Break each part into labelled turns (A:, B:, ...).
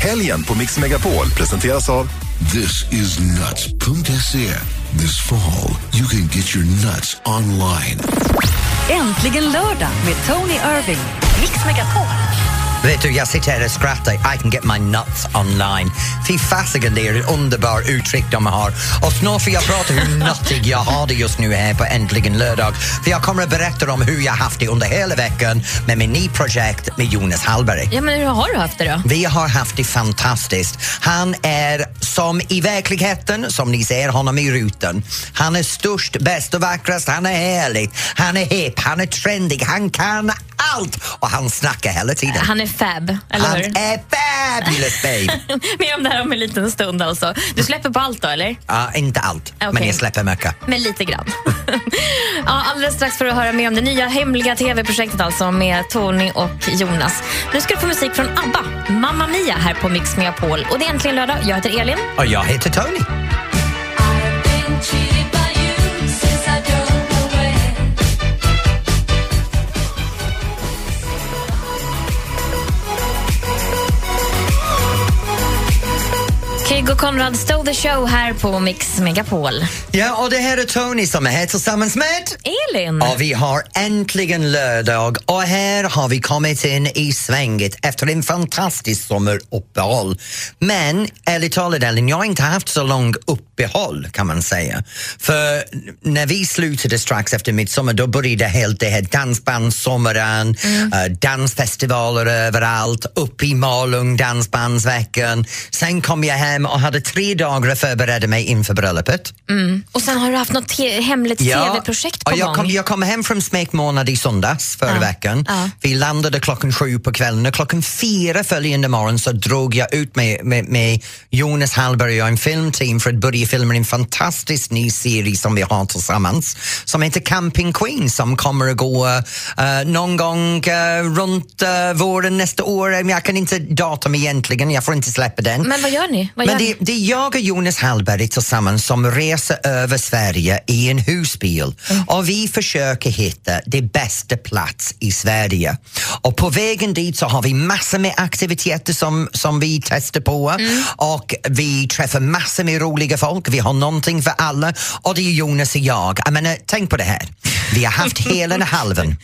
A: Helgen på Mix Megapol presenteras av
B: This is nuts.se. This fall, you can get your nuts online.
C: Äntligen lördag med Tony Irving. Mix Megapol.
D: Vet du, jag sitter här och skrattar. I can get my nuts online. Fy fasiken, det är ett underbart uttryck de har. Och snart får jag prata hur nuttig jag har det just nu här på Äntligen lördag. För jag kommer att berätta om hur jag haft det under hela veckan med min ny projekt med Jonas Hallberg.
E: Ja, men hur har du haft det då?
D: Vi har haft det fantastiskt. Han är som i verkligheten, som ni ser honom i rutan. Han är störst, bäst och vackrast, han är härlig, han är hip, han är trendig, han kan allt och han snackar hela tiden.
E: Han är fab, eller
D: Han
E: hur?
D: är fabulous babe!
E: Mer om det här om en liten stund alltså. Du släpper på allt då, eller?
D: Ja, inte allt, men
E: Okej.
D: jag släpper mycket.
E: Men lite grann. ja, alldeles strax får du höra mer om det nya hemliga tv-projektet alltså med Tony och Jonas. Nu ska du få musik från ABBA, Mamma Mia, här på Mix Megapol. Och det är äntligen lördag. Jag heter Elin.
D: Och jag heter Tony.
E: Kygo Konrad stole the show här på Mix Megapol.
D: Ja, och det här är Tony som är här tillsammans med
E: Elin!
D: Och vi har äntligen lördag och här har vi kommit in i svänget efter en fantastisk sommaruppehåll. Men ärligt talat Ellen, jag har inte haft så lång uppehåll kan man säga. För när vi slutade strax efter midsommar då började helt det här dansbandssommaren, eh, dansfestivaler överallt, upp i Malung dansbandsveckan. Sen kom jag hem och hade tre dagar att förbereda mig inför bröllopet.
E: Och sen har du haft något te- hemligt tv-projekt på
D: och jag
E: gång.
D: kom, jag kom hem från smekmånad i söndags förra veckan.
E: ja.
D: Vi landade klockan sju på kvällen och klockan fyra följande morgon så drog jag ut med, med, med Jonas Hallberg och en filmteam för att börja filma en fantastisk ny serie som vi har tillsammans som heter Camping Queen som kommer att gå eh, någon gång eh, runt eh, våren nästa år. Men Jag kan inte datum egentligen, jag får inte släppa den.
E: Men vad gör ni? Vad
D: Men
E: gör ni?
D: det, det är jag och Jonas Hallberg tillsammans som reser över Sverige i en husbil
E: Mm.
D: och vi försöker hitta det bästa plats i Sverige. Och på vägen dit så har vi massor med aktiviteter som, som vi testar på
E: Mm.
D: och vi träffar massor med roliga folk. Vi har någonting för alla och det är Jonas och jag. jag menar, tänk på det här. Vi har haft hela den halvan.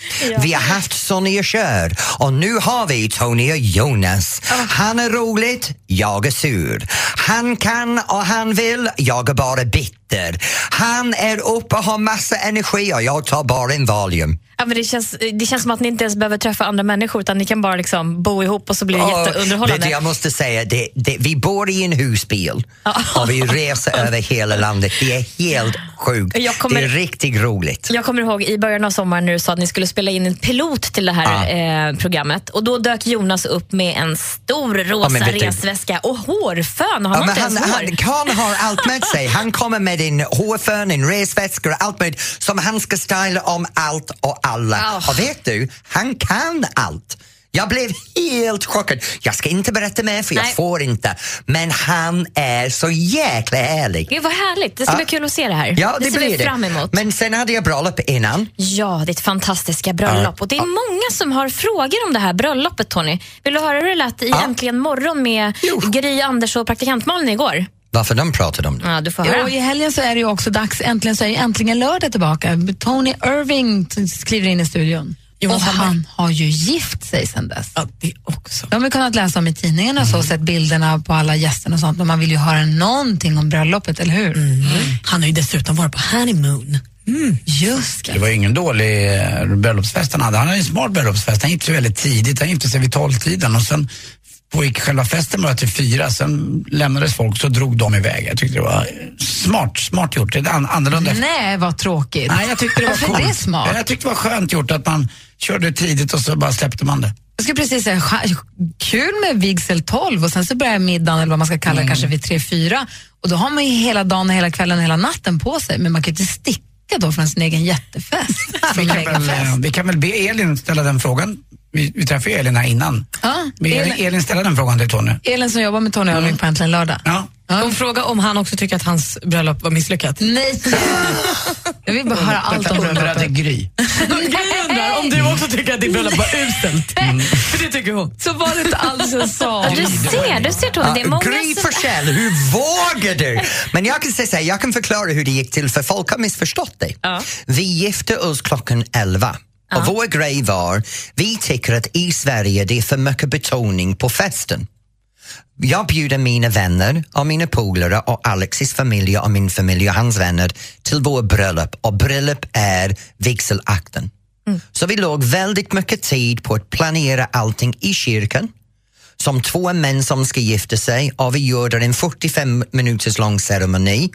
D: Vi har haft Sonja Kör och nu har vi Tony och Jonas.
E: Ah.
D: Han är roligt, jag är sur. Han kan och han vill, jag är bara bitter. Han är uppe och har massa energi och jag tar bara en valium.
E: Ja, men det, känns, det känns som att ni inte ens behöver träffa andra människor utan ni kan bara liksom bo ihop och så blir det
D: Och vet
E: jätteunderhållande.
D: du, jag måste säga, det, det, vi bor i en husbil
E: Ah.
D: och vi reser över hela landet. Det är helt
E: Jag
D: sjukt.
E: kommer-
D: Det är riktigt roligt.
E: Jag kommer ihåg i början av sommaren när du sa att ni skulle spela in en pilot till det här eh, programmet och då dök Jonas upp med en stor rosa
D: men vet du-
E: resväska och hårfön. Har
D: Ja,
E: han
D: men
E: inte
D: han,
E: ens hår?
D: han, Karl har allt med sig. Han kommer med en hårfön, en resväska och allt med som han ska styla om allt och alla.
E: Ah.
D: Och vet du, han kan allt. Jag blev helt chockad. Jag ska inte berätta mer för jag
E: Nej.
D: får inte. Men han är så jäkla härlig.
E: Det var härligt. Det ska
D: Ja.
E: bli kul att se det här.
D: Ja, det,
E: ser
D: blir
E: vi
D: det.
E: fram emot.
D: Men sen hade jag bröllop innan.
E: Ja, ditt fantastiska bröllop. Och det är många som har frågor om det här bröllopet, Tony. Vill du höra hur det lät i
D: Ja.
E: Äntligen morgon med
D: Jo.
E: Gry, Anders och praktikant-Malin igår?
D: Varför de pratade om det?
E: Ja, du får
F: Ja,
E: höra.
F: och I helgen så är det ju också dags, äntligen så är ju äntligen lördag tillbaka. Tony Irving t- skriver in i studion.
G: Jonas
F: och
G: Hallberg.
F: han har ju gift sig sedan dess.
G: Ja, det också. Mm.
F: Det har man kunnat läsa om i tidningarna och så, och sett bilderna på alla gästerna och sånt, men man vill ju höra någonting om bröllopet, eller hur?
G: Mm. Han har ju dessutom varit på honeymoon. Mm.
F: Just det.
H: Det var ju ingen dålig eh, bröllopsfest han hade. Han hade en smart bröllopsfest. Han gifte sig väldigt tidigt. Han gifte sig vid tolvtiden och sen pågick själva festen bara till fyra. Sen lämnades folk, så drog de iväg. Jag tyckte det var eh, smart, smart gjort. Det är an- annorlunda efter-
F: Nej, vad tråkigt.
H: Nej, jag tyckte det var
F: Varför
H: coolt.
F: är det smart?
H: Jag tyckte det var skönt gjort att man körde tidigt och så bara släppte man det.
F: Jag skulle precis säga, scha- kul med vigsel 12 och sen så börjar middagen, eller vad man ska kalla det,
G: Mm.
F: kanske vid 3-4. Och då har man ju hela dagen, och hela kvällen, och hela natten på sig, men man kan ju inte sticka då från sin egen jättefest.
H: Vi
F: Från
H: kan,
F: sin egen
H: väl, eh,
F: fest.
H: vi kan väl be Elin ställa den frågan. Vi, vi träffade ju Elin här innan.
F: Ja,
H: Be Elin,
F: Elin-
H: Elin ställa den frågan till Tony.
F: Elin som jobbar med Tony Irving på Äntligen lördag.
H: Ja.
G: Hon frågade om han också tycker att hans bröllop var misslyckat.
F: Nej, Jag vill bara höra allt om
H: undrade
F: bröllopet.
H: Gry.
G: Jag undrar om du också tycker att ditt bröllop var uselt. För det tycker hon.
F: Så var det inte alls jag sa.
E: Du ser, du ser Tony. Det är många
D: Gry
E: som-
D: Forssell, hur vågar du? Men jag kan säga så här, jag kan förklara hur det gick till för folk har missförstått det.
E: Ja.
D: Vi gifte oss klockan 11 och vår grej var, vi tycker att i Sverige det är för mycket betoning på festen. Jag bjuder mina vänner och mina polare och Alexis familj och min familj och hans vänner till vår bröllop och bröllop är vigselakten.
E: Mm.
D: Så vi låg väldigt mycket tid på att planera allting i kyrkan som två män som ska gifta sig och vi gjorde en 45 minuters lång ceremoni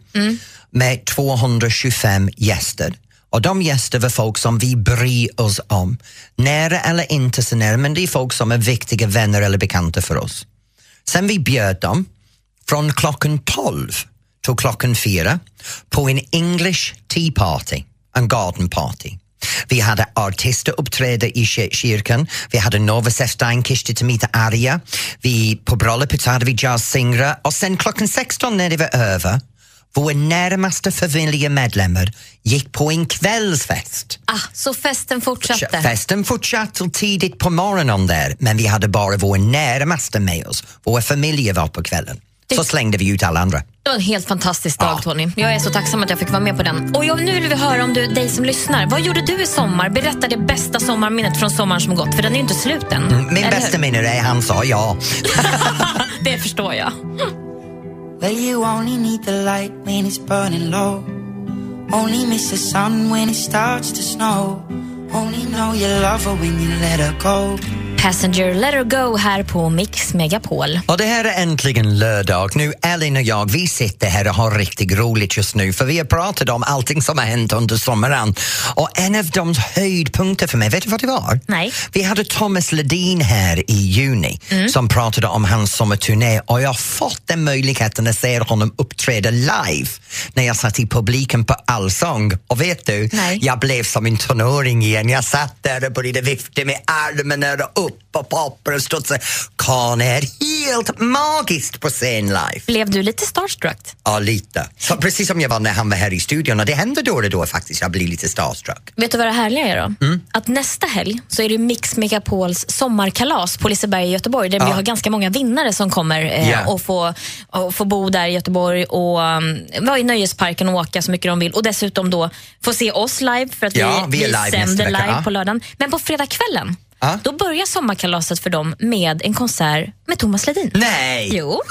D: med 225 gäster. Och de gäster var folk som vi bryr oss om. Nära eller inte så nära, men det är folk som är viktiga vänner eller bekanta för oss. Sen vi bjöd dem från klockan 12 till klockan 4 på en English tea party, en garden party. Vi hade artister uppträda i kyr- kyrkan, vi hade Nova Steinkiste Tomita Arja, vi, på bröllopet så hade vi jazzsingare och sen klockan 16 när det var över, våra närmaste familjemedlemmar gick på en kvällsfest.
E: Ah, så festen fortsatte.
D: Festen fortsatte till tidigt på morgonen där, men vi hade bara vår närmaste med oss. Våra familjer var på kvällen. Så slängde vi ut alla andra.
E: Det var en helt fantastisk dag, Tony. Jag är så tacksam att jag fick vara med på den. Och jag, nu vill vi höra om du, dig som lyssnar. Vad gjorde du i sommar? Berätta det bästa sommarminnet från sommaren som gått, för den är ju inte slut än.
D: Mm, Min
E: Eller
D: bästa minne är han sa ja.
E: hur? Det förstår jag.
I: Well, you only need the light when it's burning low. Only miss the sun when it starts to snow. Only know you love her when you let her go.
E: Passenger Let Her Go här på Mix Megapol.
D: Och det här är äntligen lördag. Nu Elin och jag, vi sitter här och har riktigt roligt just nu för vi har pratat om allting som har hänt under sommaren. Och en av de höjdpunkter för mig, vet du vad det var?
E: Nej. Mm.
D: Vi hade Thomas Ledin här i juni som pratade om hans sommarturné och jag har fått den möjligheten att se honom uppträda live när jag satt i publiken på Allsång. Och vet du,
E: Nej.
D: jag blev som en tonåring igen. Jag satt där och började vifta med armarna och upp och papper och studsa. Kan är helt magiskt på scen live.
E: Blev du lite starstruck?
D: Ja, lite. Så precis som jag var när han var här i studion och det händer då och då faktiskt. Jag blir lite starstruck.
E: Vet du vad det härliga är då?
D: Mm.
E: Att nästa helg så är det Mix Megapols sommarkalas på Liseberg i Göteborg där vi har ganska många vinnare som kommer eh,
D: Ja.
E: och, får, och får bo där i Göteborg och um, vara i nöjesparken och åka så mycket de vill och dessutom då få se oss live för att
D: Ja,
E: vi,
D: vi är live nästa
E: sänder
D: vecka,
E: live
D: ja.
E: på lördagen. Men på fredagskvällen
D: Ja.
E: då börjar sommarkalaset för dem med en konsert med Thomas Ledin.
D: Nej!
E: Jo.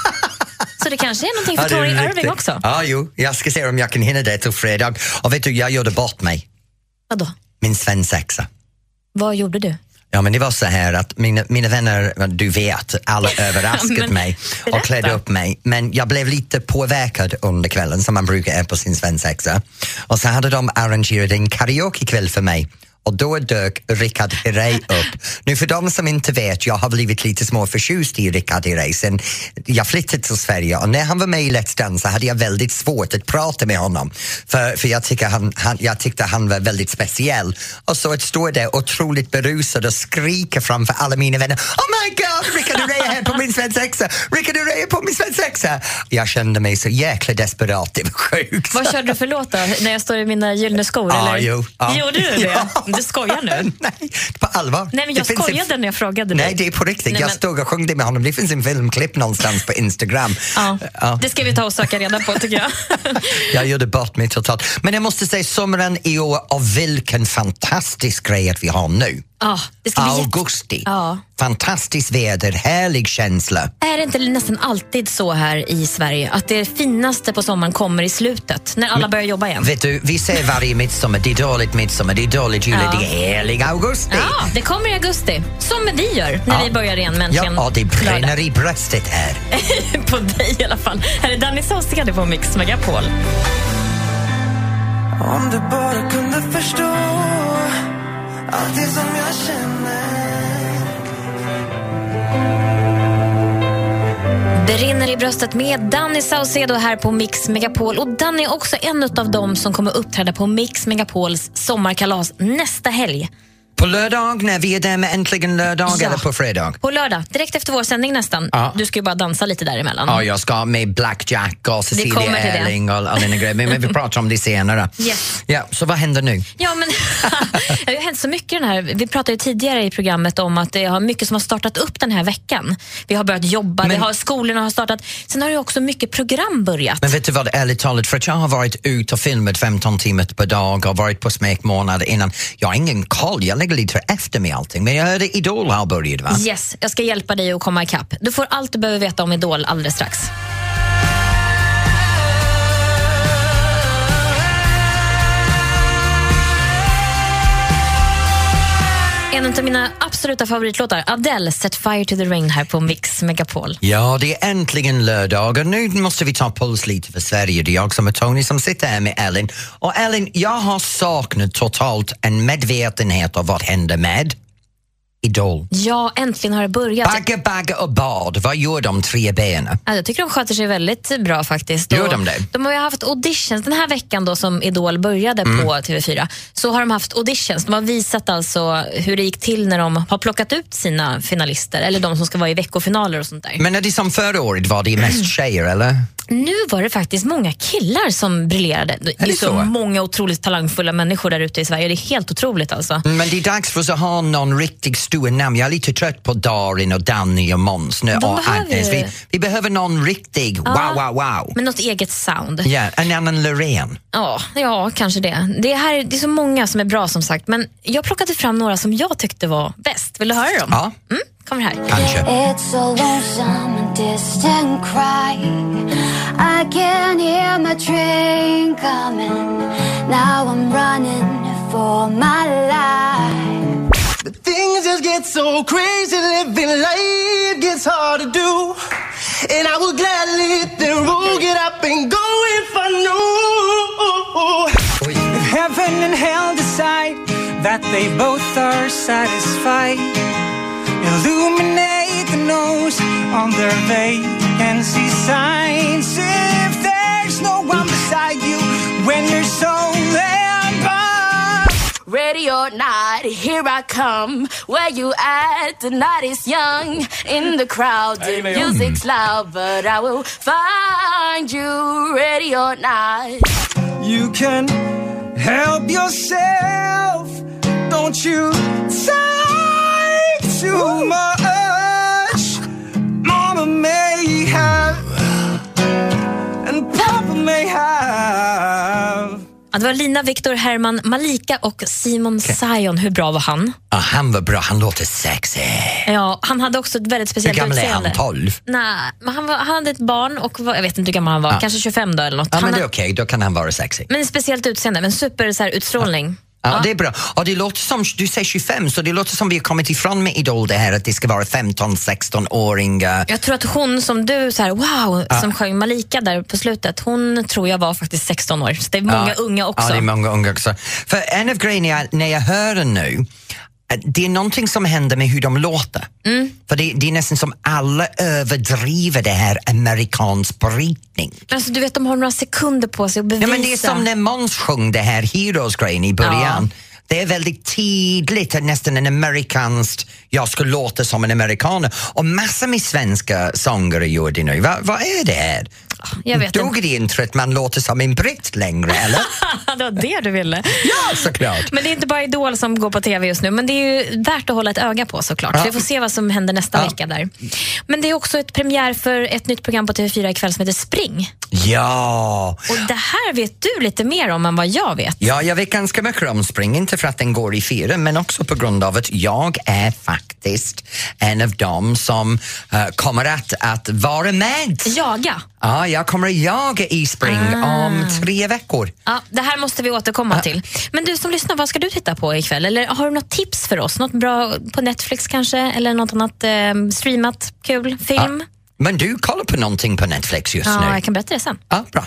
E: Så det kanske är någonting
D: Ja,
E: för
D: det är
E: Tori
D: riktigt.
E: Irving också.
D: Ja, jo. Jag ska se om jag kan hinna det till fredag. Och vet du, jag gjorde bort mig.
E: Vadå?
D: Min svensexa.
E: Vad gjorde du?
D: Ja, men det var så här att mina, mina vänner, du vet, alla överraskade
E: Men,
D: mig och
E: berätta.
D: klädde upp mig. Men jag blev lite påverkad under kvällen som man brukar är på sin svensexa. Och så hade de arrangerat en karaokekväll för mig. Och då dök Richard Herrey upp. Nu för de som inte vet, jag har blivit lite småförtjust i Richard Herrey sen jag flyttade till Sverige och när han var med i Let's Dance så hade jag väldigt svårt att prata med honom för, för jag, tycker han, han, jag tyckte han var väldigt speciell. Och så att stå där otroligt berusad och skrika framför alla mina vänner Oh my god, Rickard Herrey är här på min svensexa! Rickard Herrey är på min svensexa! Jag kände mig så jäkla desperat, det var sjukt.
E: Vad körde du för låt då? När jag står i mina gyllene skor?
D: Ja,
E: eller?
D: jo. Ja.
E: Gjorde du det?
D: Ja.
E: Du skojar nu?
D: Nej, på allvar.
E: Nej, men jag
D: Det finns en-
E: skojade när jag frågade dig.
D: Nej, det är på riktigt.
E: Nej,
D: jag
E: men-
D: stod och sjöng det med honom. Det finns en filmklipp någonstans på Instagram.
E: Ja.
D: Ja.
E: Det ska vi ta och söka reda på tycker jag.
D: Jag gjorde bort mig totalt. Men jag måste säga sommaren i år och vilken fantastisk grej att vi har nu.
E: Ja, det ska bli jätte...
D: Augusti.
E: Ja.
D: Fantastiskt väder, härlig känsla.
E: Är det inte nästan alltid så här i Sverige att det finaste på sommaren kommer i slutet när alla börjar jobba igen?
D: Vet du, vi ser varje midsommar, det är dåligt midsommar, det är dåligt jul,
E: Ja.
D: det är härlig augusti.
E: Ja, det kommer i augusti. Som vi gör när
D: Ja.
E: vi börjar igen med
D: Ja,
E: Äntligen
D: och det
E: lördag.
D: brinner i bröstet här.
E: På dig i alla fall. Här är Danny Saucedo på Mix Megapol.
I: Om du bara kunde förstå allt det som jag känner.
E: Det rinner i bröstet med Danny Saucedo här på Mix Megapol. Och Danny är också en av dem som kommer uppträda på Mix Megapols sommarkalas nästa helg.
D: På lördag när vi är där med Äntligen lördag
E: Ja. Mm.
D: eller på fredag?
E: På lördag, direkt efter vår sändning nästan.
D: Ja.
E: Du ska ju bara dansa lite däremellan.
D: Ja, jag ska med Blackjack och Cecilia
E: kommer till det.
D: Erling och alla mina grejer. Men men vi pratar om det senare.
E: Yes.
D: Ja, så vad händer nu?
E: Ja, men det har hänt så mycket den här. Vi pratade ju tidigare i programmet om att det har mycket som har startat upp den här veckan. Vi har börjat jobba, vi
D: Men-
E: har, skolorna har startat. Sen har det ju också mycket program börjat.
D: Men vet du vad, ärligt talat, för att jag har varit ute och filmat 15 timmar per dag och varit på smekmånader innan. Jag har ingen koll, jag ligger lite efter med allting. Men jag hörde Idol har börjat va?
E: Yes, jag ska hjälpa dig att komma ikapp. Du får allt du behöver veta om Idol alldeles strax. En av mina absoluta favoritlåtar, Adele, Set Fire to the Rain här på Mix Megapol.
D: Ja, det är äntligen lördag och nu måste vi ta puls lite för Sverige. Det är jag som är Tony som sitter här med Ellen. Och Ellen, jag har saknat totalt en medvetenhet av vad händer med Idol.
E: Ja, äntligen har det börjat.
D: Bagge, bagge och bad, vad gör de tre benen?
E: Ja, jag tycker de sköter sig väldigt bra faktiskt.
D: Gör
E: Och
D: de det?
E: De har ju haft auditions. Den här veckan då som Idol började på
D: Mm.
E: TV4 så har de haft auditions. De har visat alltså hur det gick till när de har plockat ut sina finalister eller de som ska vara i veckofinaler och sånt där.
D: Men är det som förra året, var det mest tjejer eller?
E: Nu var det faktiskt många killar som briljerade. Det är
D: det
E: ju
D: så?
E: så många otroligt talangfulla människor där ute i Sverige. Det är helt otroligt alltså.
D: Mm, Men det är dags för oss att ha någon riktigt stor namn. Jag är lite trött på Darin och Danny och Måns nu
E: De
D: och
E: behöver
D: Agnes.
E: ju-
D: Vi, vi behöver någon riktig wow, wow, wow.
E: Men något eget sound.
D: Ja, en annan Loreen.
E: Ja, ja kanske det. Det, här, det är så många som är bra som sagt. Men jag plockade fram några som jag tyckte var bäst. Vill du höra dem?
D: Ja,
E: Mm, kommer här.
D: kanske.
J: It's a lonesome and distant cry. I can hear my train coming. Now I'm running for my life.
K: Things just get so crazy, living life gets hard to do. And I will gladly then roll get up and go if I knew. If heaven and hell decide that they both are satisfied, illuminate the nose on their vacancy signs. If there's no one beside you when you're so lamb.
J: Ready or not, here I come. Where you at? The night is young. In the crowd, the music's loud, but I will find you. Ready or not.
K: You can help yourself. Don't you take too much. Mama may have, and Papa may have.
E: Ja, det var Lina, Viktor, Herman, Malika och Simon Sion. Hur bra var han?
D: Ja, han var bra, han låter sexig.
E: Ja, han hade också ett väldigt
D: Hur
E: speciellt
D: gammal är
E: utseende.
D: han? 12?
E: Nej, men han, var, han hade ett barn och var, jag vet inte hur gammal han var, kanske 25 då eller något.
D: Ja,
E: han
D: men det är
E: hade-
D: okej, då kan han vara sexig.
E: men ett speciellt utseende, men super så här, utstrålning.
D: Ja, Det är bra. Och det låter som, du säger 25, så det låter som vi har kommit ifrån med Idol det här att det ska vara 15-16-åringar.
E: Jag tror att hon som du, så här, wow, som sjöng Malika där på slutet, hon tror jag var faktiskt 16 år. Så det är många
D: Ja.
E: unga också.
D: Ja, det är många unga också. För en av grejerna jag, när jag hör den nu, eh, det är någonting som händer med hur de låter. För det, det är nästan som alla överdriver det här amerikansk brytning.
E: Men alltså, du vet, de har några sekunder på sig att bevisa.
D: Ja, men det är som när Måns sjöng det här Heroes-grejen i början. Det är väldigt tydligt, att nästan en amerikanskt, jag ska låta som en amerikan. Och massor med svenska sångare gör det nu. Va, vad är det här?
E: jag vet
D: Dog det inte att man låter som en britt längre, eller?
E: det var det du ville.
D: ja, såklart!
E: Men det är inte bara Idol som går på tv just nu, men det är ju värt att hålla ett öga på såklart. Så vi får se vad som händer nästa vecka där. Men det är också ett premiär för ett nytt program på TV4 ikväll som heter Spring.
D: Ja!
E: Och det här vet du lite mer om än vad jag vet.
D: Ja, jag vet ganska mycket om spring, inte för att den går i fyra men också på grund av att jag är faktiskt en av dem som eh, kommer att, att vara med.
E: Jaga.
D: Ja, Ah, jag kommer att jaga i spring
E: Ah.
D: om tre veckor.
E: Ja, det här måste vi återkomma till. Men du som lyssnar, vad ska du titta på ikväll? Eller har du något tips för oss? Något bra på Netflix kanske? Eller något annat eh, streamat, kul, film?
D: Men du kollar på någonting på Netflix just
E: Ja,
D: nu?
E: jag kan berätta det sen.
D: Ja, bra.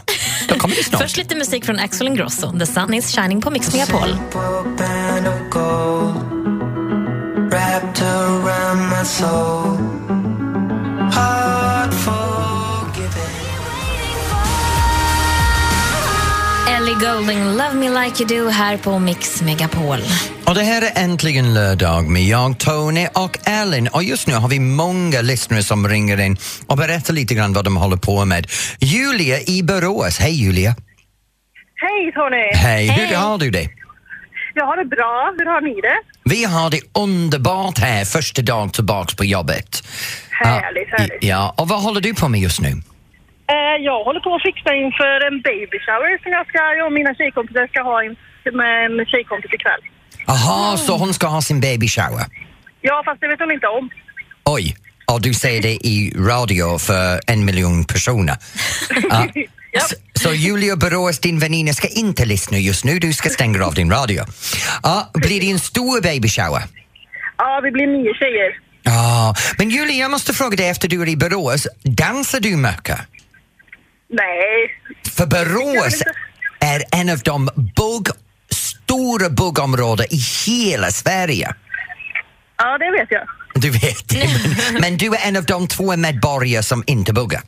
D: Då kommer det
E: Först
D: snart.
E: lite musik från Axel Ingrosso, The Sun Is Shining på Mix Megapol.
K: Purple band of gold wrapped around my soul. Heart forgiven.
E: Ellie Golding, Love Me Like You Do här på Mix Megapol.
D: Och det här är äntligen lördag med jag, Tony och Ellen. Och just nu har vi många lyssnare som ringer in och berättar lite grann vad de håller på med. Julia i Borås. Hej Julia!
L: Hej Tony!
D: Hej! Hur har du det?
L: Jag har det bra. Hur har ni det?
D: Vi har det underbart här första dagen tillbaks på jobbet.
L: Härligt, härligt.
D: Ja, och vad håller du på med just nu?
L: Eh, jag håller på att fixa inför en baby shower som jag, ska, jag och mina tjejkompisar ska ha in, med en tjejkompis ikväll.
D: Aha, så hon ska ha sin baby shower.
L: Ja, fast det vet hon inte om.
D: Oj, och du säger det i radio för en miljon personer. Ja. S- Så Julia Borås, din väninna, ska inte lyssna just nu. Du ska stänga av din radio. Ja, blir det en stor baby shower?
L: Ja, vi blir nio tjejer.
D: Ja, men Julia, jag måste fråga dig efter du är i Borås. Dansar du mycket?
L: Nej.
D: För Borås är en av de bugg, stora buggområden i hela Sverige.
L: Ja, det vet jag.
D: Du vet det, men, men du är en av de två medborgare som inte buggar.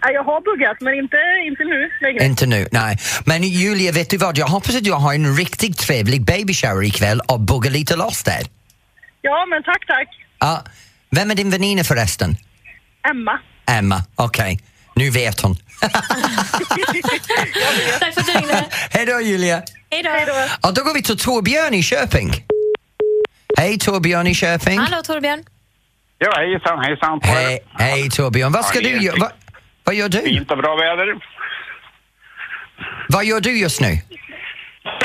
L: Ja, jag har buggat, men inte, inte nu längre.
D: Inte nu, nej. Men Julia, vet du vad? Jag hoppas att du har en riktigt trevlig baby shower ikväll och buggar lite loss där.
L: Ja, men tack, tack.
D: Ja. Vem är din väninna förresten?
L: Emma.
D: Emma, okej. Nu vet hon.
E: Tack för att du ringde.
D: Hej då Julia!
E: Hej då.
D: Och då går vi till Torbjörn i Köping. Hej Torbjörn i Köping.
E: Hallå Torbjörn.
M: Ja, hejsan, hejsan på
D: Hej, hej Torbjörn, vad ska
M: Ja, det
D: du
M: är
D: göra?
M: fint.
D: Vad, vad gör
M: er.
D: du?
M: Fint och bra väder.
D: Vad gör du just nu?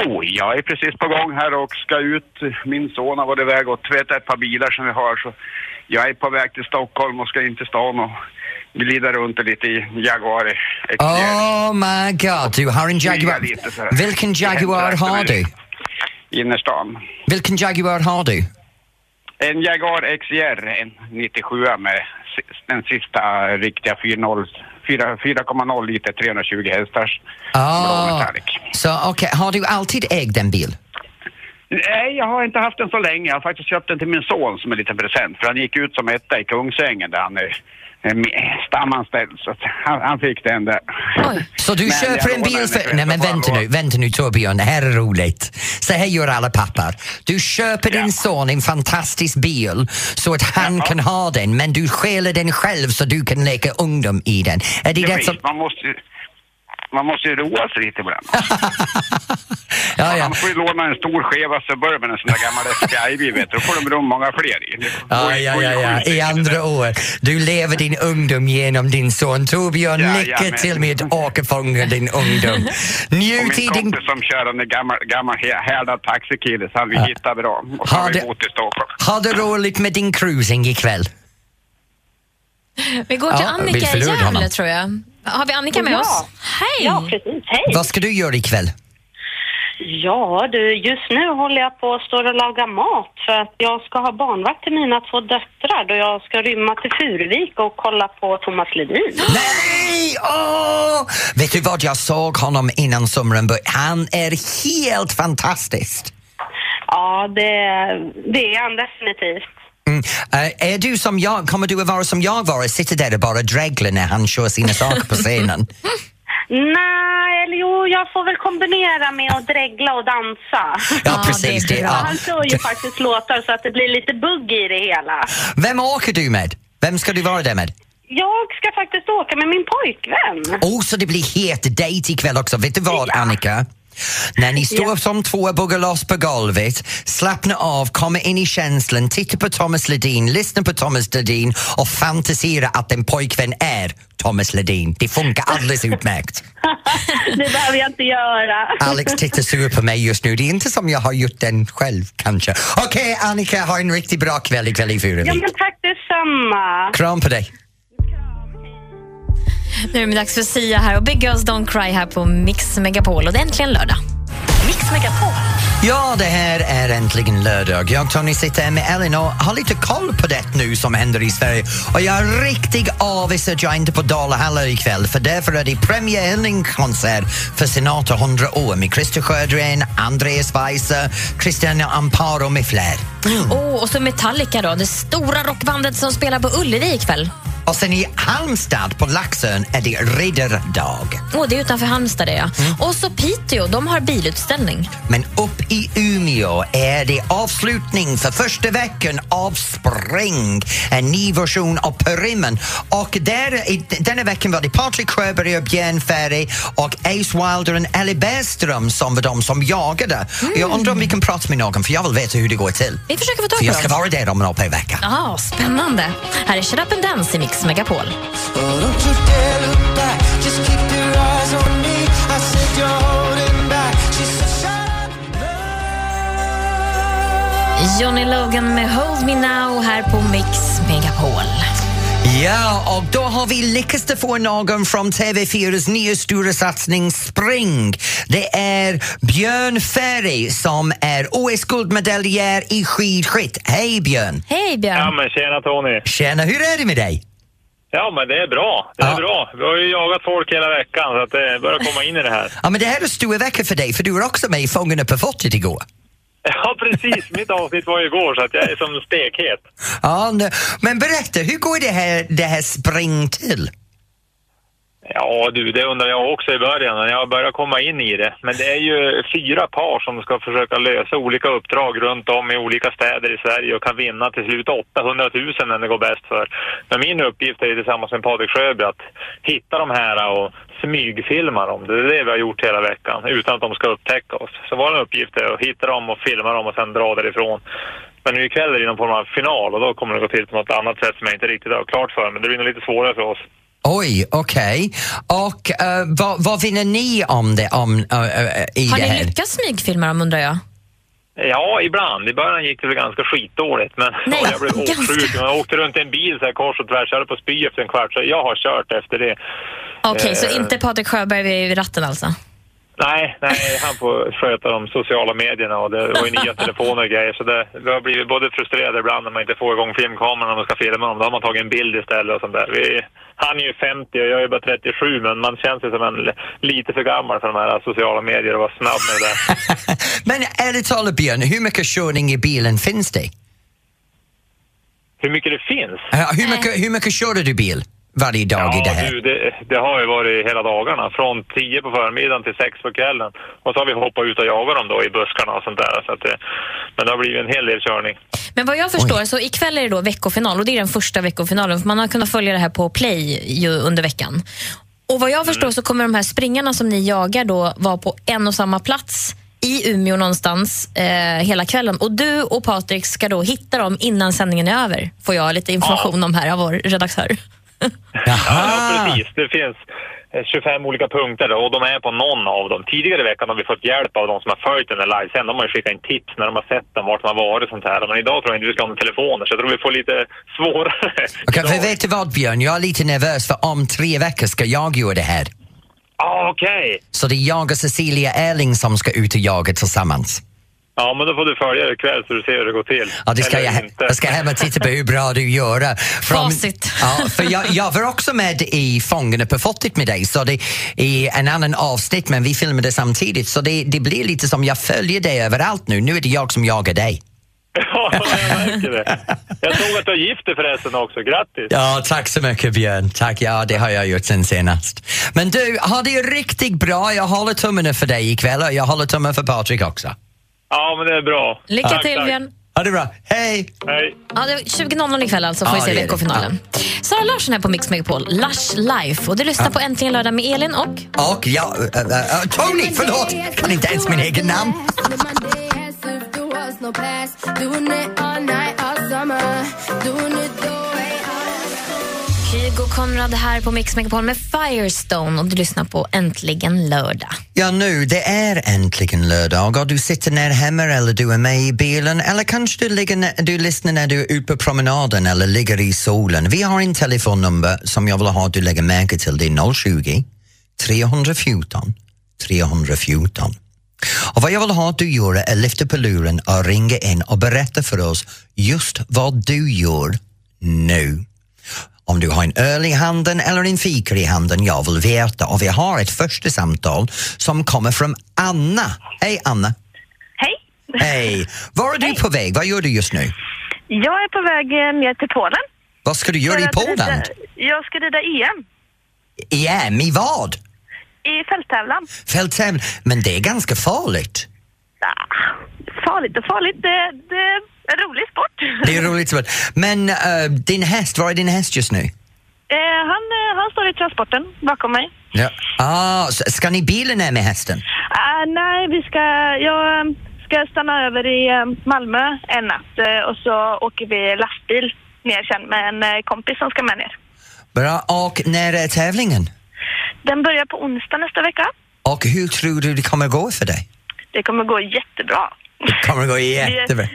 M: Oh, jag är precis på gång här och ska ut. Min son har varit iväg och tvättat ett par bilar som vi har. Så jag är på väg till Stockholm och ska in till stan och glida runt lite i Jaguar.
D: Oh my god, du har en Jaguar.
M: Smyga lite sådär.
D: Vilken Jaguar har du?
M: Innerstan.
D: Vilken Jaguar har du?
M: En Jaguar XJR, en 97 med si- den sista riktiga 4.0 4- 4,0 liter 320 hästars.
D: Ah, så okej, har du alltid ägt en bil?
M: Nej, jag har inte haft den så länge. Jag har faktiskt köpt den till min son som en liten present. För han gick ut som etta i Kungsängen där han är är med- stamanställd. Så att han, han fick den där.
D: Så du
M: Men jag
D: köper en
M: lånar
D: bil
M: den
D: för...
M: ifrån
D: Nej men
M: så får
D: vänta
M: han
D: nu, vänta nu Torbjörn, det här är roligt. Så här gör alla pappor. Du köper din son en fantastisk bil så att han kan ha den men du stjäl den själv så du kan leka ungdom i den. Är det det
M: Precis,
D: som...
M: man, måste, ju- man måste ju roa sig lite ibland.
D: Ja, ja.
M: Man får ju låna en stor skeva Suburban, en sån där gammal SPIB, vet du. Då får de rum många fler i. Det går
D: Ja,
M: ju-
D: ja,
M: går ju
D: ja, ja.
M: sjukt.
D: I andra år. Du lever din ungdom genom din son. Torbjörn,
M: Ja,
D: lycka
M: ja, men-
D: till med att åkerfånga din ungdom.
M: Och
D: Njut i
M: min
D: din...
M: kompis som kör en gammal, gammal hä- härdad taxikille, så han vi hittar bra. Och så
D: Har
M: har vi
D: det-
M: bott i Stockholm.
D: Ha det roligt med din cruising ikväll.
E: Vi går till
D: Ja, vi
E: Annika i
D: förlorade
E: Gävle
D: honom.
E: tror jag. Har vi Annika med
N: Ja.
E: oss? Hej!
N: Ja, precis. Hej!
D: Vad ska du göra ikväll?
N: Ja, du, just nu håller jag på att stå och laga mat för att jag ska ha barnvakt till mina två döttrar då jag ska rymma till Furuvik och kolla på Thomas Ledin.
D: Nej! Åh! Vet du vad, jag såg honom innan sommaren började. Han är helt fantastisk.
N: Ja, det, det är han definitivt.
D: Mm. Eh, är du som jag? Kommer du att vara som jag var och sitta där och bara dregla när han kör sina saker på scenen?
N: Nej, eller jo, jag får väl kombinera med att dregla och dansa.
D: Ja, precis, det är det. bra.
N: Han kör ju faktiskt låtar så att det blir lite bugg i det hela.
D: Vem åker du med? Vem ska du vara där med?
N: Jag ska faktiskt åka med min pojkvän.
D: Oh, så det blir het dejt ikväll också. Vet du vad, Annika? När ni står som två och buggar loss på golvet, slappna av, komma in i känslan, titta på Thomas Ledin, lyssna på Thomas Ledin och fantisera att en pojkvän är Thomas Ledin. Det funkar alldeles utmärkt.
N: Det behöver jag inte göra.
D: Alex tittar sur på mig just nu. Det är inte som jag har gjort den själv, kanske. Okej, Annika, ha en riktigt bra kväll ikväll i
N: Ja,
D: Furuvik.
N: men tack detsamma.
D: Kram på dig.
E: Nu är det dags för Sia här och Big Girls Don't Cry här på Mix Megapol och det är äntligen lördag. Mix Megapol.
D: Ja, det här är äntligen lördag. Jag, Tony, sitter här med Ellen och har lite koll på det nu som händer i Sverige. Och jag är riktigt avis att jag inte är på Dalahalla ikväll för därför är det premiärhällningskonsert för Senator 100 år med Christer Sjögren, Andreas Weise, Christian Amparo med fler.
E: Mm. Åh, och så Metallica då, det stora rockbandet som spelar på Ullevi ikväll.
D: Och sen i Halmstad på Laxön är det ridderdag.
E: Åh, det är utanför Halmstad det ja.
D: Mm.
E: Och så Piteå, de har bilutställning.
D: Men upp i Umeå är det avslutning för första veckan av Spring, en ny version av Perimen. Och där, i, denna veckan var det Patrik Sjöberg och Björn Ferry och Ace Wilder och Ellie Bergström som var de som jagade. Jag undrar om vi kan prata med någon för jag vill veta hur det går till.
E: Vi försöker få tag
D: För jag
E: på
D: ska
E: dem.
D: vara där om en halv vecka.
E: Ja, spännande. Här är Shut Up and Dance i Mix Megapol. Johnny Logan med Hold Me Now här på Mix Megapol.
D: Ja, och då har vi lyckats att få någon från TV4s nya stora satsning Spring. Det är Björn Ferry som är OS-guldmedaljär i skidskytt. Hej Björn!
E: Hej Björn!
O: Ja men tjena Tony!
D: Tjena, hur är det med dig?
O: Ja men det är bra, det är bra. Vi har ju jagat folk hela veckan så att det börjar komma in i det här.
D: Ja, men det här är en stor vecka för dig, för du var också med i Fångarna på fortet igår.
O: Ja precis, mitt avsnitt var ju igår så att jag är som stekhet.
D: Ja, nu- men berätta, hur går det här, det här Spring till?
O: Ja du, det undrar jag också i början och jag börjar komma in i det. Men det är ju fyra par som ska försöka lösa olika uppdrag runt om i olika städer i Sverige och kan vinna till slut 800 000 när det går bäst för. Men min uppgift är ju tillsammans med Patrik Sjöberg att hitta de här och smygfilma dem. Det är det vi har gjort hela veckan utan att de ska upptäcka oss. Så vår uppgift är att hitta dem och filma dem och sen dra därifrån. Men nu ikväll är det någon form av final och då kommer det gå till på något annat sätt som jag inte riktigt har klart för men det blir nog lite svårare för oss.
D: Oj, okej. Och eh, vad, vad vinner ni om det, om, eh, eh, i
E: Har
D: det
E: ni
D: här?
E: lyckats smygfilma dem undrar jag?
O: Ja, ibland. I början gick det väl ganska skitdåligt, men
E: Nej,
O: jag blev
E: ganska.
O: åksjuk. Jag åkte runt i en bil så här kors och tvärs, jag höll på att spy efter en kvart, så jag har kört efter det.
E: Okej, så
O: Eh,
E: inte Patrik Sjöberg vid ratten alltså?
O: Nej, nej, han får sköta de sociala medierna och det var ju nya telefoner och grejer, så det, vi har blivit både frustrerade ibland när man inte får igång filmkameran när man ska filma dem, då har man tagit en bild istället och sånt där. Vi, han är ju 50 och jag är bara 37, men man känns ju som en l- lite för gammal för de här sociala medier och vara snabb med det där.
D: Men ärligt talat Björn, hur mycket körning i bilen finns det?
O: Hur mycket det finns?
D: Eh, Hur mycket, hur mycket körde du bil varje dag i det här?
O: Du, det, det har ju varit hela dagarna, från 10 på förmiddagen till 6 på kvällen. Och så har vi hoppat ut och jagat dem då i buskarna och sånt där. Så att, det- men det har blivit en hel del körning.
E: Men vad jag förstår så ikväll är det då veckofinal och det är den första veckofinalen för man har kunnat följa det här på play ju under veckan. Och vad jag förstår
D: Mm.
E: så kommer de här springarna som ni jagar då vara på en och samma plats i Umeå någonstans eh, hela kvällen. Och du och Patrik ska då hitta dem innan sändningen är över, får jag lite information om här av vår redaktör.
D: Ah.
O: Ja, precis. Det finns eh, 25 olika punkter då, och de är på någon av dem. Tidigare i veckan har vi fått hjälp av de som har följt den här livesändningen. De har ju skickat in tips när de har sett den, vart de har varit och sånt här. Men idag tror jag inte vi ska ha några telefoner, så jag tror vi får lite svårare.
D: Okej, för vet du vad Björn, jag är lite nervös för om tre veckor ska jag göra det här.
O: Ah, Okej!
D: Så det är jag och Cecilia Erling som ska ut och jaga tillsammans.
O: Ja, men då får du följa det ikväll så du ser hur det går till.
D: Ja, det ska
O: Eller
D: jag, he- jag ska hem och titta på hur bra du gör. Från,
E: Facit.
D: ja, för jag, jag var också med i Fångarna på fortet med dig, så det är en annan avsnitt men vi filmade samtidigt så det, det blir lite som jag följer dig överallt nu. Nu är det jag som jagar dig.
O: Ja, jag märker det. Jag såg att du har gift dig förresten också. Grattis!
D: Ja, tack så mycket Björn. Tack, ja det har jag gjort sen senast. Men du, ha det riktigt bra. Jag håller tummarna för dig ikväll och jag håller tummen för Patrik också.
O: Ja, men det är bra.
E: Lycka
D: Tack,
E: till
D: tack.
E: Björn!
D: Ha det bra. Hej!
O: Hej!
E: Ja, det är 20.00 ikväll alltså får vi
D: Ja, det
E: se
D: är det.
E: veckofinalen. Sara Larsson här på Mix Megapol, Lush Life. Och du lyssnar på Äntligen lördag med Elin och
D: Och jag... Äh, äh, äh, Tony, förlåt! Jag kan inte ens min egen namn.
E: Kygo Konrad här på Mix Megapol med Firestone och du lyssnar på Äntligen lördag.
D: Ja, nu det är äntligen lördag och du sitter ner hemma eller du är med i bilen eller kanske du, ligger, när- du lyssnar när du är ute på promenaden eller ligger i solen. Vi har en telefonnummer som jag vill ha att du lägger märke till. Det är 020 314 314. Och vad jag vill ha att du gör är lyfta på luren och ringa in och berätta för oss just vad du gör nu. Om du har en öl i handen eller en fika i handen, jag vill veta. Och vi har ett första samtal som kommer från Anna. Hej Anna!
N: Hej!
D: Hej! Var är du på väg? Vad gör du just nu?
N: Jag är på väg eh, ner till Polen.
D: Vad ska du göra
N: För
D: i
N: att
D: Polen?
N: rida- Jag ska rida EM
D: Igen, i vad?
N: i fälttävlan.
D: Fälttävlan? Men det är ganska farligt.
N: Ah, Farligt och farligt, det, det är en rolig sport.
D: Det är roligt. men- Men eh, din häst, var är din häst just nu?
N: Eh, han, eh, han står i transporten bakom mig.
D: Ja. Ah, så ska ni bilen ner med hästen?
N: Ah, nej, vi ska, jag eh, ska stanna över i eh, Malmö en natt eh, och så åker vi lastbil ner sen med en eh, kompis som ska med ner.
D: Bra. Och när är tävlingen?
N: Den börjar på onsdag nästa vecka.
D: Och hur tror du det kommer gå för dig?
N: Det kommer gå jättebra.
D: Det kommer gå jättebra.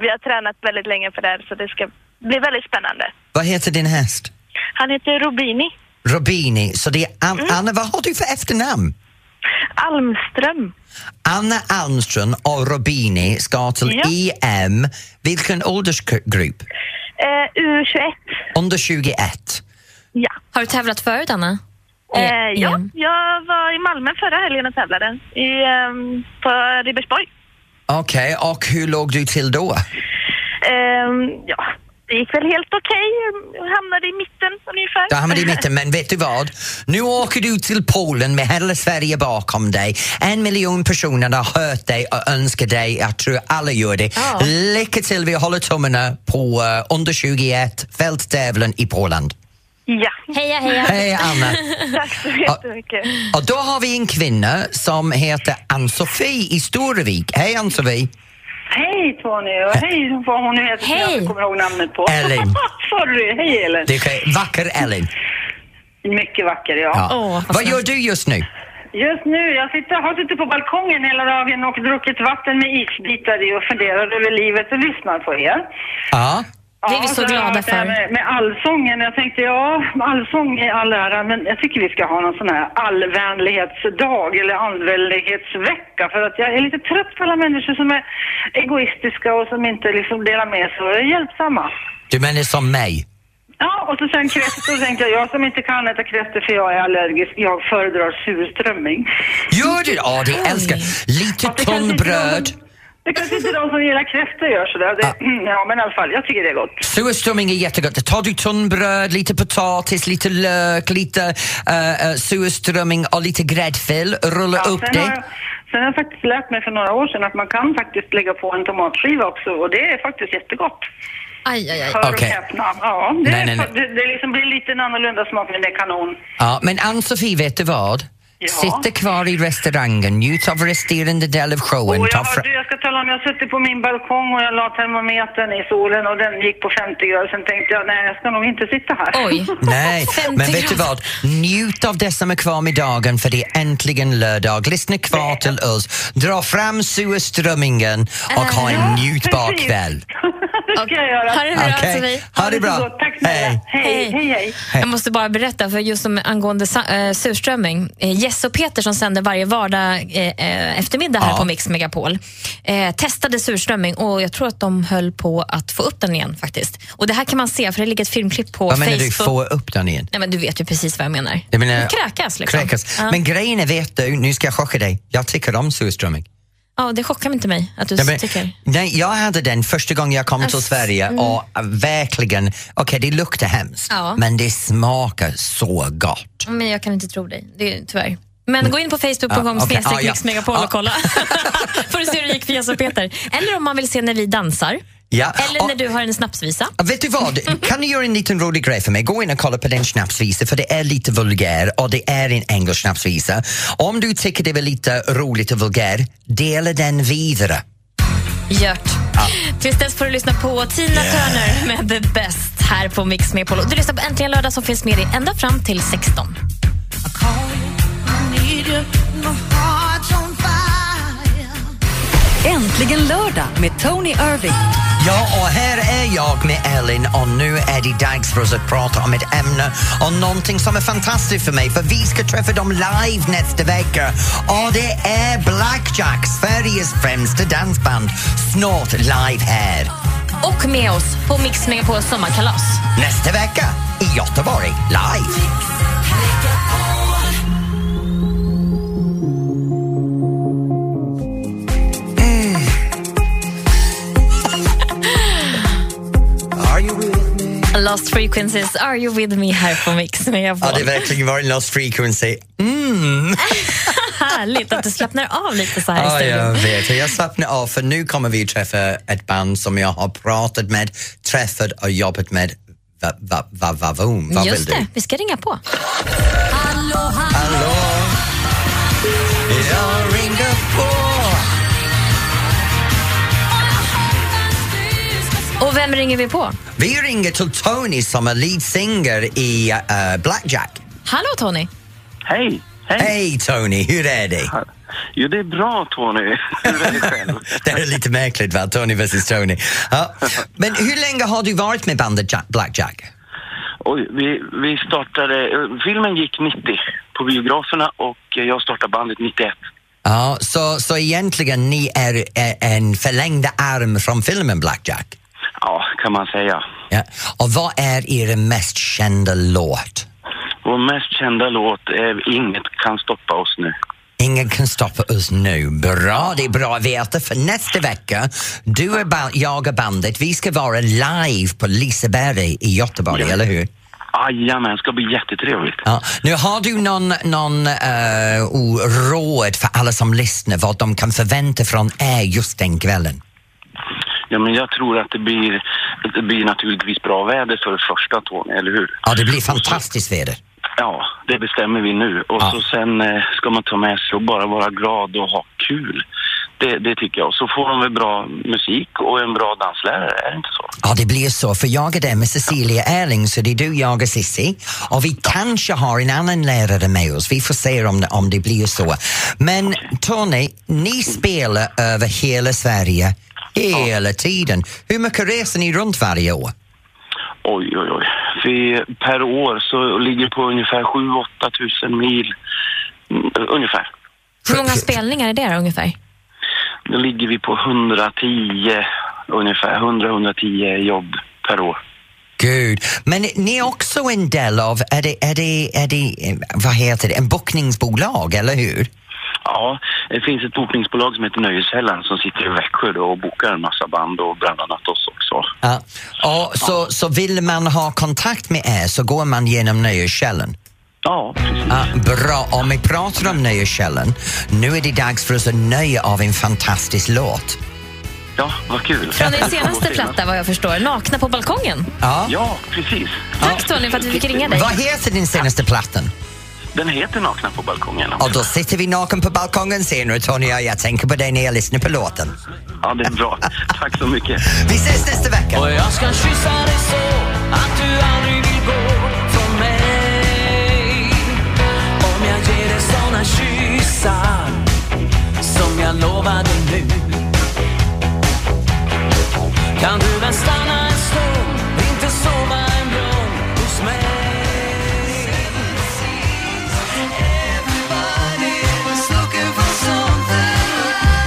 N: Vi har tränat väldigt länge för det här så det ska bli väldigt spännande.
D: Vad heter din häst?
N: Han heter Robini
D: Robini. Så det är An- Anna, vad har du för efternamn?
N: Almström.
D: Anna Almström och Robini ska till EM. Vilken åldersgrupp?
N: U21.
D: Under 21.
N: Ja.
E: Har du tävlat förut, Anna?
N: Eh, ja,
E: Mm.
N: jag var i Malmö förra helgen och tävlade i, ehm, på Ribersborg.
D: Okej, och hur låg du till då?
N: Ehm, ja, det gick väl helt okej. Jag hamnade i mitten ungefär.
D: Du hamnade i mitten, men vet du vad? Nu åker du till Polen med hela Sverige bakom dig. En miljon personer har hört dig och önskar dig. Jag tror alla gör det. Lycka till, vi håller tummarna på eh, under 21 fälttävlan i Poland.
N: Ja.
E: Heja, heja.
D: Hej, Anna.
N: Tack så jättemycket.
D: Och då har vi en kvinna som heter Ann-Sofie i Storvik. Hej Ann-Sofie!
L: Hej Tony och hej vad hon nu heter som jag inte kommer ihåg namnet på.
D: Elin.
L: Sorry, hej Elin.
D: Det är vacker Elin.
L: Mycket vacker ja.
D: Ja. Vad gör du just nu?
L: Just nu, jag sitter, har suttit på balkongen hela dagen och druckit vatten med isbitar i och funderar över livet och lyssnar på er.
D: Ja.
E: Det är vi
L: har
E: så
L: jag
E: glada
L: hört det här
E: för.
L: Med, med allsången, jag tänkte ja, allsång är all ära, men jag tycker vi ska ha någon sån här allvänlighetsdag eller allvänlighetsvecka för att jag är lite trött på alla människor som är egoistiska och som inte liksom delar med sig och är hjälpsamma.
D: Du menar som mig?
L: Ja, och så sen kräftor tänkte jag, jag som inte kan äta kräftor för jag är allergisk, jag föredrar surströmming.
D: Gör du det? Ja, det älskar Lite tunnbröd.
L: Det kanske inte de som gillar kräftor gör sådär. Det, Ja, men i alla fall, jag tycker det är gott.
D: Surströmming är jättegott. Tar du tunnbröd, lite potatis, lite lök, lite uh, surströmming och lite gräddfil, rulla
L: Ja,
D: upp
L: sen, har jag,
D: det.
L: sen har jag faktiskt lärt mig för några år sedan att man kan faktiskt lägga på en tomatskiva också och det är faktiskt jättegott.
E: Aj, aj, aj.
L: Hör
D: Okej.
L: och häpna. Ja, det,
D: Nej, nej, nej.
L: Det, det liksom blir lite en annorlunda smak men det är kanon.
D: Ja, men Ann-Sofie, vet du vad? Sitta kvar i restaurangen, njut av resterande del av showen.
L: Och jag,
D: ta fra-
L: har- du, jag ska tala om, jag sitter på min balkong och jag la termometern i solen och den gick på 50 grader. Sen tänkte jag, nej jag ska nog inte sitta här. Oj.
D: Nej, men vet du vad? Njut av det som är kvar med dagen för det är äntligen lördag. Lyssna kvar till oss, dra fram surströmmingen och ha en
L: Ja,
D: njutbar
L: precis.
D: kväll.
L: det ska jag göra.
E: Ha det bra,
D: Okej.
E: Sofie.
D: Ha det bra. Hej.
L: Hej, hej,
D: Hej.
E: Jag måste bara berätta, för just som angående sa- eh, surströmming. Eh, Jess och Peter som sänder varje vardag eh, eh, eftermiddag här
P: Ja.
E: på Mix Megapol eh, testade surströmming och jag tror att de höll på att få upp den igen faktiskt. Och det här kan man se, för det ligger ett filmklipp på
D: Vad
E: Facebook.
D: menar du, få upp den igen?
E: Nej, men du vet ju precis vad jag menar.
D: Jag menar-
E: kräkas liksom.
D: Kräkas.
E: Ja.
D: Men grejen är, vet du, nu ska jag chocka dig, jag tycker om surströmming.
E: ja, det chockar inte mig att du
D: Ja, men-
E: tycker.
D: Nej, jag hade den första gången jag kom till
E: Ass-
D: Sverige
E: mm.
D: och verkligen, okej det luktar hemskt
E: Ja.
D: men det smakar så gott.
E: Men jag kan inte tro dig, det är, tyvärr. Men gå in på
D: Ja,
E: facebook.com
D: okej.
E: snedstreck
D: Ja, ja.
E: Mix Megapol och kolla. Får du se hur det gick för Jess och Peter. Eller om man vill se när vi dansar.
D: Ja.
E: Eller när du har en snapsvisa.
D: Ja, Vet du vad, kan du göra en liten rolig grej för mig? Gå in och kolla på den snapsvisa för det är lite vulgär och det är en engelsk snapsvisa. Om du tycker det är lite roligt och vulgär, dela den vidare.
E: Gjort. Tills dess får du lyssna på Tina Turner med The Best här på Mix Megapol. Och Du lyssnar på Äntligen lördag som finns med dig ända fram till 16.
C: Äntligen lördag med Tony Irving.
D: Ja, och här är jag med Elin och nu är det dags för oss att prata om ett ämne och någonting som är fantastiskt för mig för vi ska träffa dem live nästa vecka och det är Blackjack, Sveriges främsta dansband, snart live här.
E: Och med oss på Mix Megapol sommarkalas.
D: Nästa vecka i Göteborg, live.
E: Los Lost Frequencies, Are You With Me här på Mix Megapol.
D: Ja, det verkligen var en lost frequency. Mm.
E: Härligt att du slappnar av lite så här i
D: Ja, jag
E: studion.
D: vet. Jag slappnar av för nu kommer vi träffa ett band som jag har pratat med, träffat och jobbat med. Va, va, va, va, voom. Vad vill
E: Just
D: du?
E: det, vi ska ringa på.
D: Hallå? Jag ringer på.
E: Och vem ringer vi på?
D: Vi ringer till Tony som är lead singer i eh, Blackjack.
E: Hallå Tony!
P: Hej! Hej!
D: Tony, hur är det?
P: Jo, det är bra Tony. Hur är det själv?
D: det här är lite märkligt va, Tony vs Tony. Ja. Men hur länge har du varit med bandet Jack, Blackjack?
P: Oj, vi, vi startade... eh, Filmen gick 90 på biograferna och eh, jag startade bandet 91.
D: Ja, så, så egentligen ni är eh, en förlängd arm från filmen Blackjack?
P: Ja, kan man säga.
D: Ja. Och vad är er mest kända låt?
P: Vår mest kända låt är Inget kan stoppa oss nu.
D: Ingen kan stoppa oss nu. Bra, det är bra att veta. För nästa vecka, du och ba- jag och bandet, vi ska vara live på Liseberg i Göteborg, eller hur?
P: Jajamän, det ska bli jättetrevligt.
D: Ja. Nu har du någon, någon eh, o- råd för alla som lyssnar vad de kan förvänta från er just den kvällen?
P: Ja, men jag tror att det blir, det blir naturligtvis bra väder för det första Tony, eller hur?
D: Ja, det blir fantastiskt väder.
P: Ja, det bestämmer vi nu. Och så sen eh, ska man ta med sig och bara vara glad och ha kul. Det, det tycker jag. Och så får de väl bra musik och en bra danslärare, är det inte så?
D: Ja, det blir så. För jag är där med Cecilia Erling, så det är du, jag och Cissi. Och vi kanske har en annan lärare med oss. Vi får se om det, om det blir så. Men Tony, ni spelar över hela Sverige hela tiden. Hur mycket reser ni runt varje år?
P: Oj, oj, oj. Vi, per år så ligger det på ungefär 7-8 tusen mil. Mm, Ungefär.
E: Hur många spelningar är det ungefär?
P: Då ligger vi på 110, ungefär 100-110 jobb per år.
D: Gud. Men ni är också en del av, är det, är det, är det eh, vad heter det, en bokningsbolag, eller hur?
P: Ja, det finns ett bokningsbolag som heter Nöjeskällan som sitter i Växjö då och bokar en massa band och bland annat oss också.
D: Ja. Och så, så vill man ha kontakt med er så går man genom Nöjeskällan?
P: Ja, precis.
D: Ah, bra, om vi pratar om Nöjeskällan, nu är det dags för oss att nöja av en fantastisk låt.
P: Ja, vad kul.
E: Från din senaste platta vad jag förstår, Nakna på balkongen.
D: Ja,
P: precis.
E: Tack Tony för att vi fick ringa dig.
D: Vad heter din senaste plattan?
P: Den heter Nakna på balkongen.
D: Och då sitter vi naken på balkongen senare, Tony och jag tänker på dig när jag lyssnar på låten.
P: Ja, det är bra. Tack så mycket.
D: Vi ses nästa vecka!
Q: Och jag ska kyssa dig så att du aldrig vill gå från mig Om jag ger dig såna kyssar som jag lovade nu Kan du väl stanna en stund, inte sova en blund hos mig Everybody's looking for something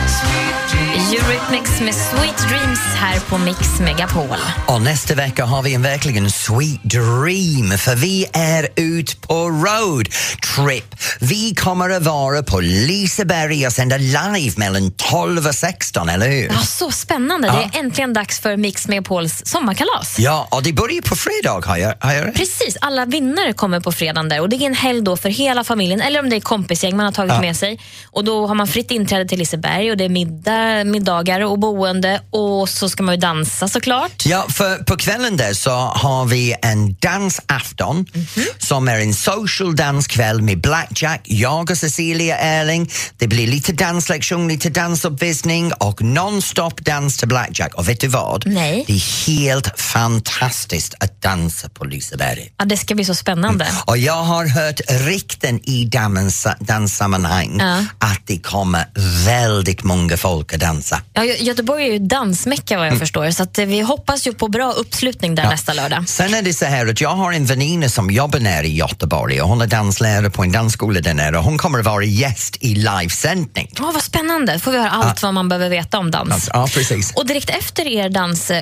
Q: sweet dreams
E: Eurythmics med Sweet Dreams här på Mix Megapol.
D: Och nästa vecka har vi en verkligen sweet dream för vi är ut på road trip. Vi kommer att vara på Liseberg och sända live mellan 12 och 16, eller hur?
E: Ja, så spännande.
D: Ja.
E: Det är äntligen dags för Mix Megapols sommarkalas.
D: Ja, och det börjar på fredag har jag, har jag rätt?
E: Precis, alla vinnare kommer på fredagen där och det är en helg då för hela familjen eller om det är kompisgäng man har tagit
D: Ja.
E: med sig. Och Då har man fritt inträde till Liseberg och det är middag, middagar och boende och så ska man ju dansa såklart.
D: Ja, för på kvällen där så har vi en dansafton
E: Mhm.
D: som är en social danskväll med Blackjack, jag och Cecilia Erling. Det blir lite danslektion, lite dansuppvisning och non-stop dans till Blackjack. Och vet du vad?
E: Nej.
D: Det är helt fantastiskt att dansa på Liseberg.
E: Ja, det ska bli så spännande.
D: Och jag har hört rykten i damens- danssammanhang
E: Ja.
D: att det kommer väldigt många folk att dansa.
E: Ja, Gö- Göteborg är ju dansmecka vad jag förstår så att eh, vi hoppas ju på bra uppslutning där
D: Mm. Ja.
E: nästa lördag.
D: Sen är det så här att jag har en väninna som jobbar nere i Göteborg och hon är danslärare på en dansskola där nere. Hon kommer att vara gäst i livesändning.
E: Ja, vad spännande. får vi höra allt vad man behöver veta om dans.
D: Alltså, Ja, precis.
E: Och direkt efter er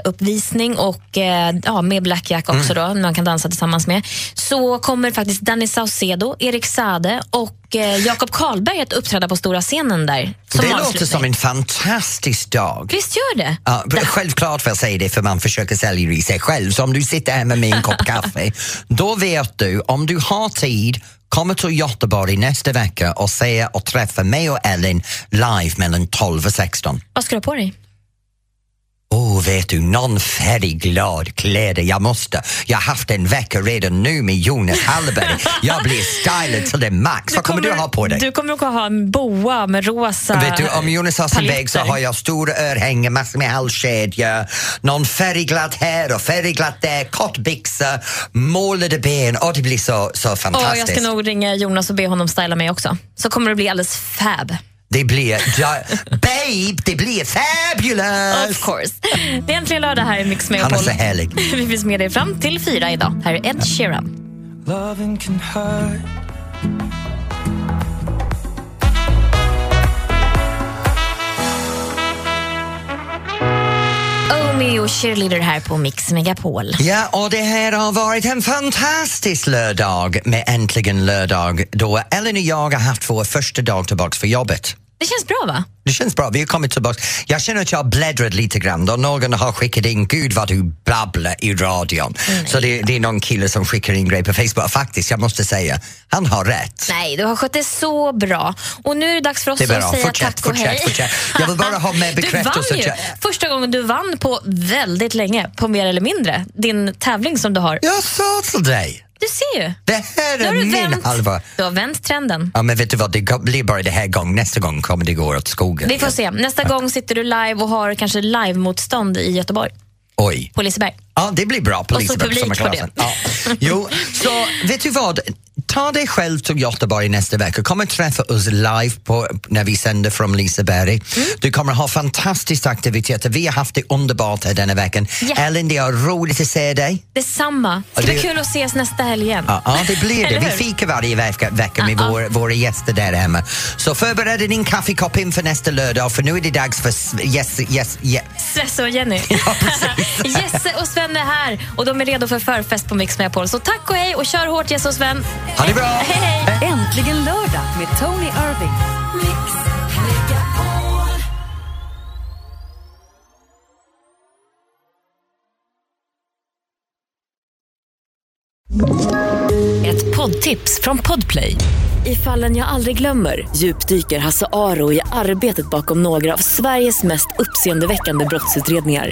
E: dansuppvisning och eh, ja, med Blackjack
D: Mm.
E: också då, man kan dansa tillsammans med, så kommer faktiskt Danny Saucedo, Erik Sade och och eh, Jakob Karlberg att uppträda på stora scenen där. Som
D: det låter
E: avslutning.
D: som en fantastisk dag.
E: Visst gör det?
D: Ja, b- självklart får jag säga det för man försöker sälja i sig själv. Så om du sitter hemma med en kopp kaffe, då vet du om du har tid Kommer till Göteborg nästa vecka och se och träffa mig och Ellen live mellan 12 och 16.
E: Vad ska du ha på dig?
D: Åh, oh, vet du, någon färgglad kläder jag måste. Jag har haft en vecka redan nu med Jonas Hallberg. Jag blir stylad till det max. Vad kommer du ha på dig?
E: Du kommer att ha en boa med rosa
D: Vet du, om Jonas har sin
E: paletter.
D: väg så har jag stora örhängen, massor med halskedjor, någon färgglatt här och färgglatt där, kortbyxor, målade ben. Åh, det blir så, så
E: Och jag
D: fantastiskt.
E: ska nog ringa Jonas och be honom styla mig också. Så kommer det bli alldeles fab.
D: Det blir... Ja, babe, det blir fabulous!
E: Of course. Det är äntligen lördag här i Mix Megapol.
D: Han är så härlig.
E: Vi finns med dig fram till fyra idag. Här är Ed Sheeran.
K: Loving can hurt.
E: Omi och cheerleader här på Mix Megapol.
D: Ja, och det här har varit en fantastisk lördag med Äntligen lördag då Ellen och jag har haft vår första dag tillbaks för jobbet.
E: Det känns bra va?
D: Det känns bra, vi har kommit tillbaka. Jag känner att jag har bläddrat lite grann då någon har skickat in “Gud vad du babblar i radion”.
E: Mm.
D: Så det, det är någon kille som skickar in grejer på Facebook. Faktiskt, jag måste säga, han har rätt.
E: Nej, du har skött det så bra. Och nu är det dags för oss
D: Det är bra.
E: att säga
D: Fortsätt,
E: tack och
D: fortsätt,
E: hej.
D: fortsätt. Jag vill bara ha med bekräftelse
E: Du
D: att
E: vann
D: jag-
E: ju. Första gången du vann på väldigt länge, på mer eller mindre, din tävling som du har.
D: Jag sa till dig!
E: Du ser ju.
D: Det här
E: Nu har
D: är
E: du
D: min
E: vänt.
D: halva.
E: Du har vänt trenden.
D: Ja, men vet du vad, det blir bara det här gången. Nästa gång kommer det gå åt skogen.
E: Vi får se. Nästa gång sitter du live och har kanske live-motstånd i Göteborg,
D: Oj.
E: på Liseberg.
D: Ja, det blir bra på
E: Och så
D: Liseberg
E: publik på
D: sommarklassen. Ja. Jo, så vet du vad? Ta dig själv till Göteborg nästa vecka. Kom och träffa oss live på, när vi sänder från Liseberg.
E: Mm.
D: Du kommer ha fantastiska aktiviteter. Vi har haft det underbart här denna veckan.
E: Ja.
D: Ellen, det är roligt att se dig.
E: Detsamma. Det ska
D: Ja,
E: bli
D: det-
E: kul att ses nästa helg igen.
D: Ja, ja, det blir det.
E: Eller
D: Vi
E: hur?
D: fikar varje vecka, vecka med vår, våra gäster där hemma. Så förbered din kaffekopp inför nästa lördag för nu är det dags för s- yes, yes, yes.
E: Svesse och Jenny. Jesse och Sven är här och de är redo för förfest på Mix Megapol. Så tack och hej och kör hårt Jesse och Sven.
D: Ha det bra!
E: Hej, hej.
C: Äntligen lördag med Tony Irving.
R: Ett poddtips från Podplay. I fallen jag aldrig glömmer djupdyker Hasse Aro i arbetet bakom några av Sveriges mest uppseendeväckande brottsutredningar.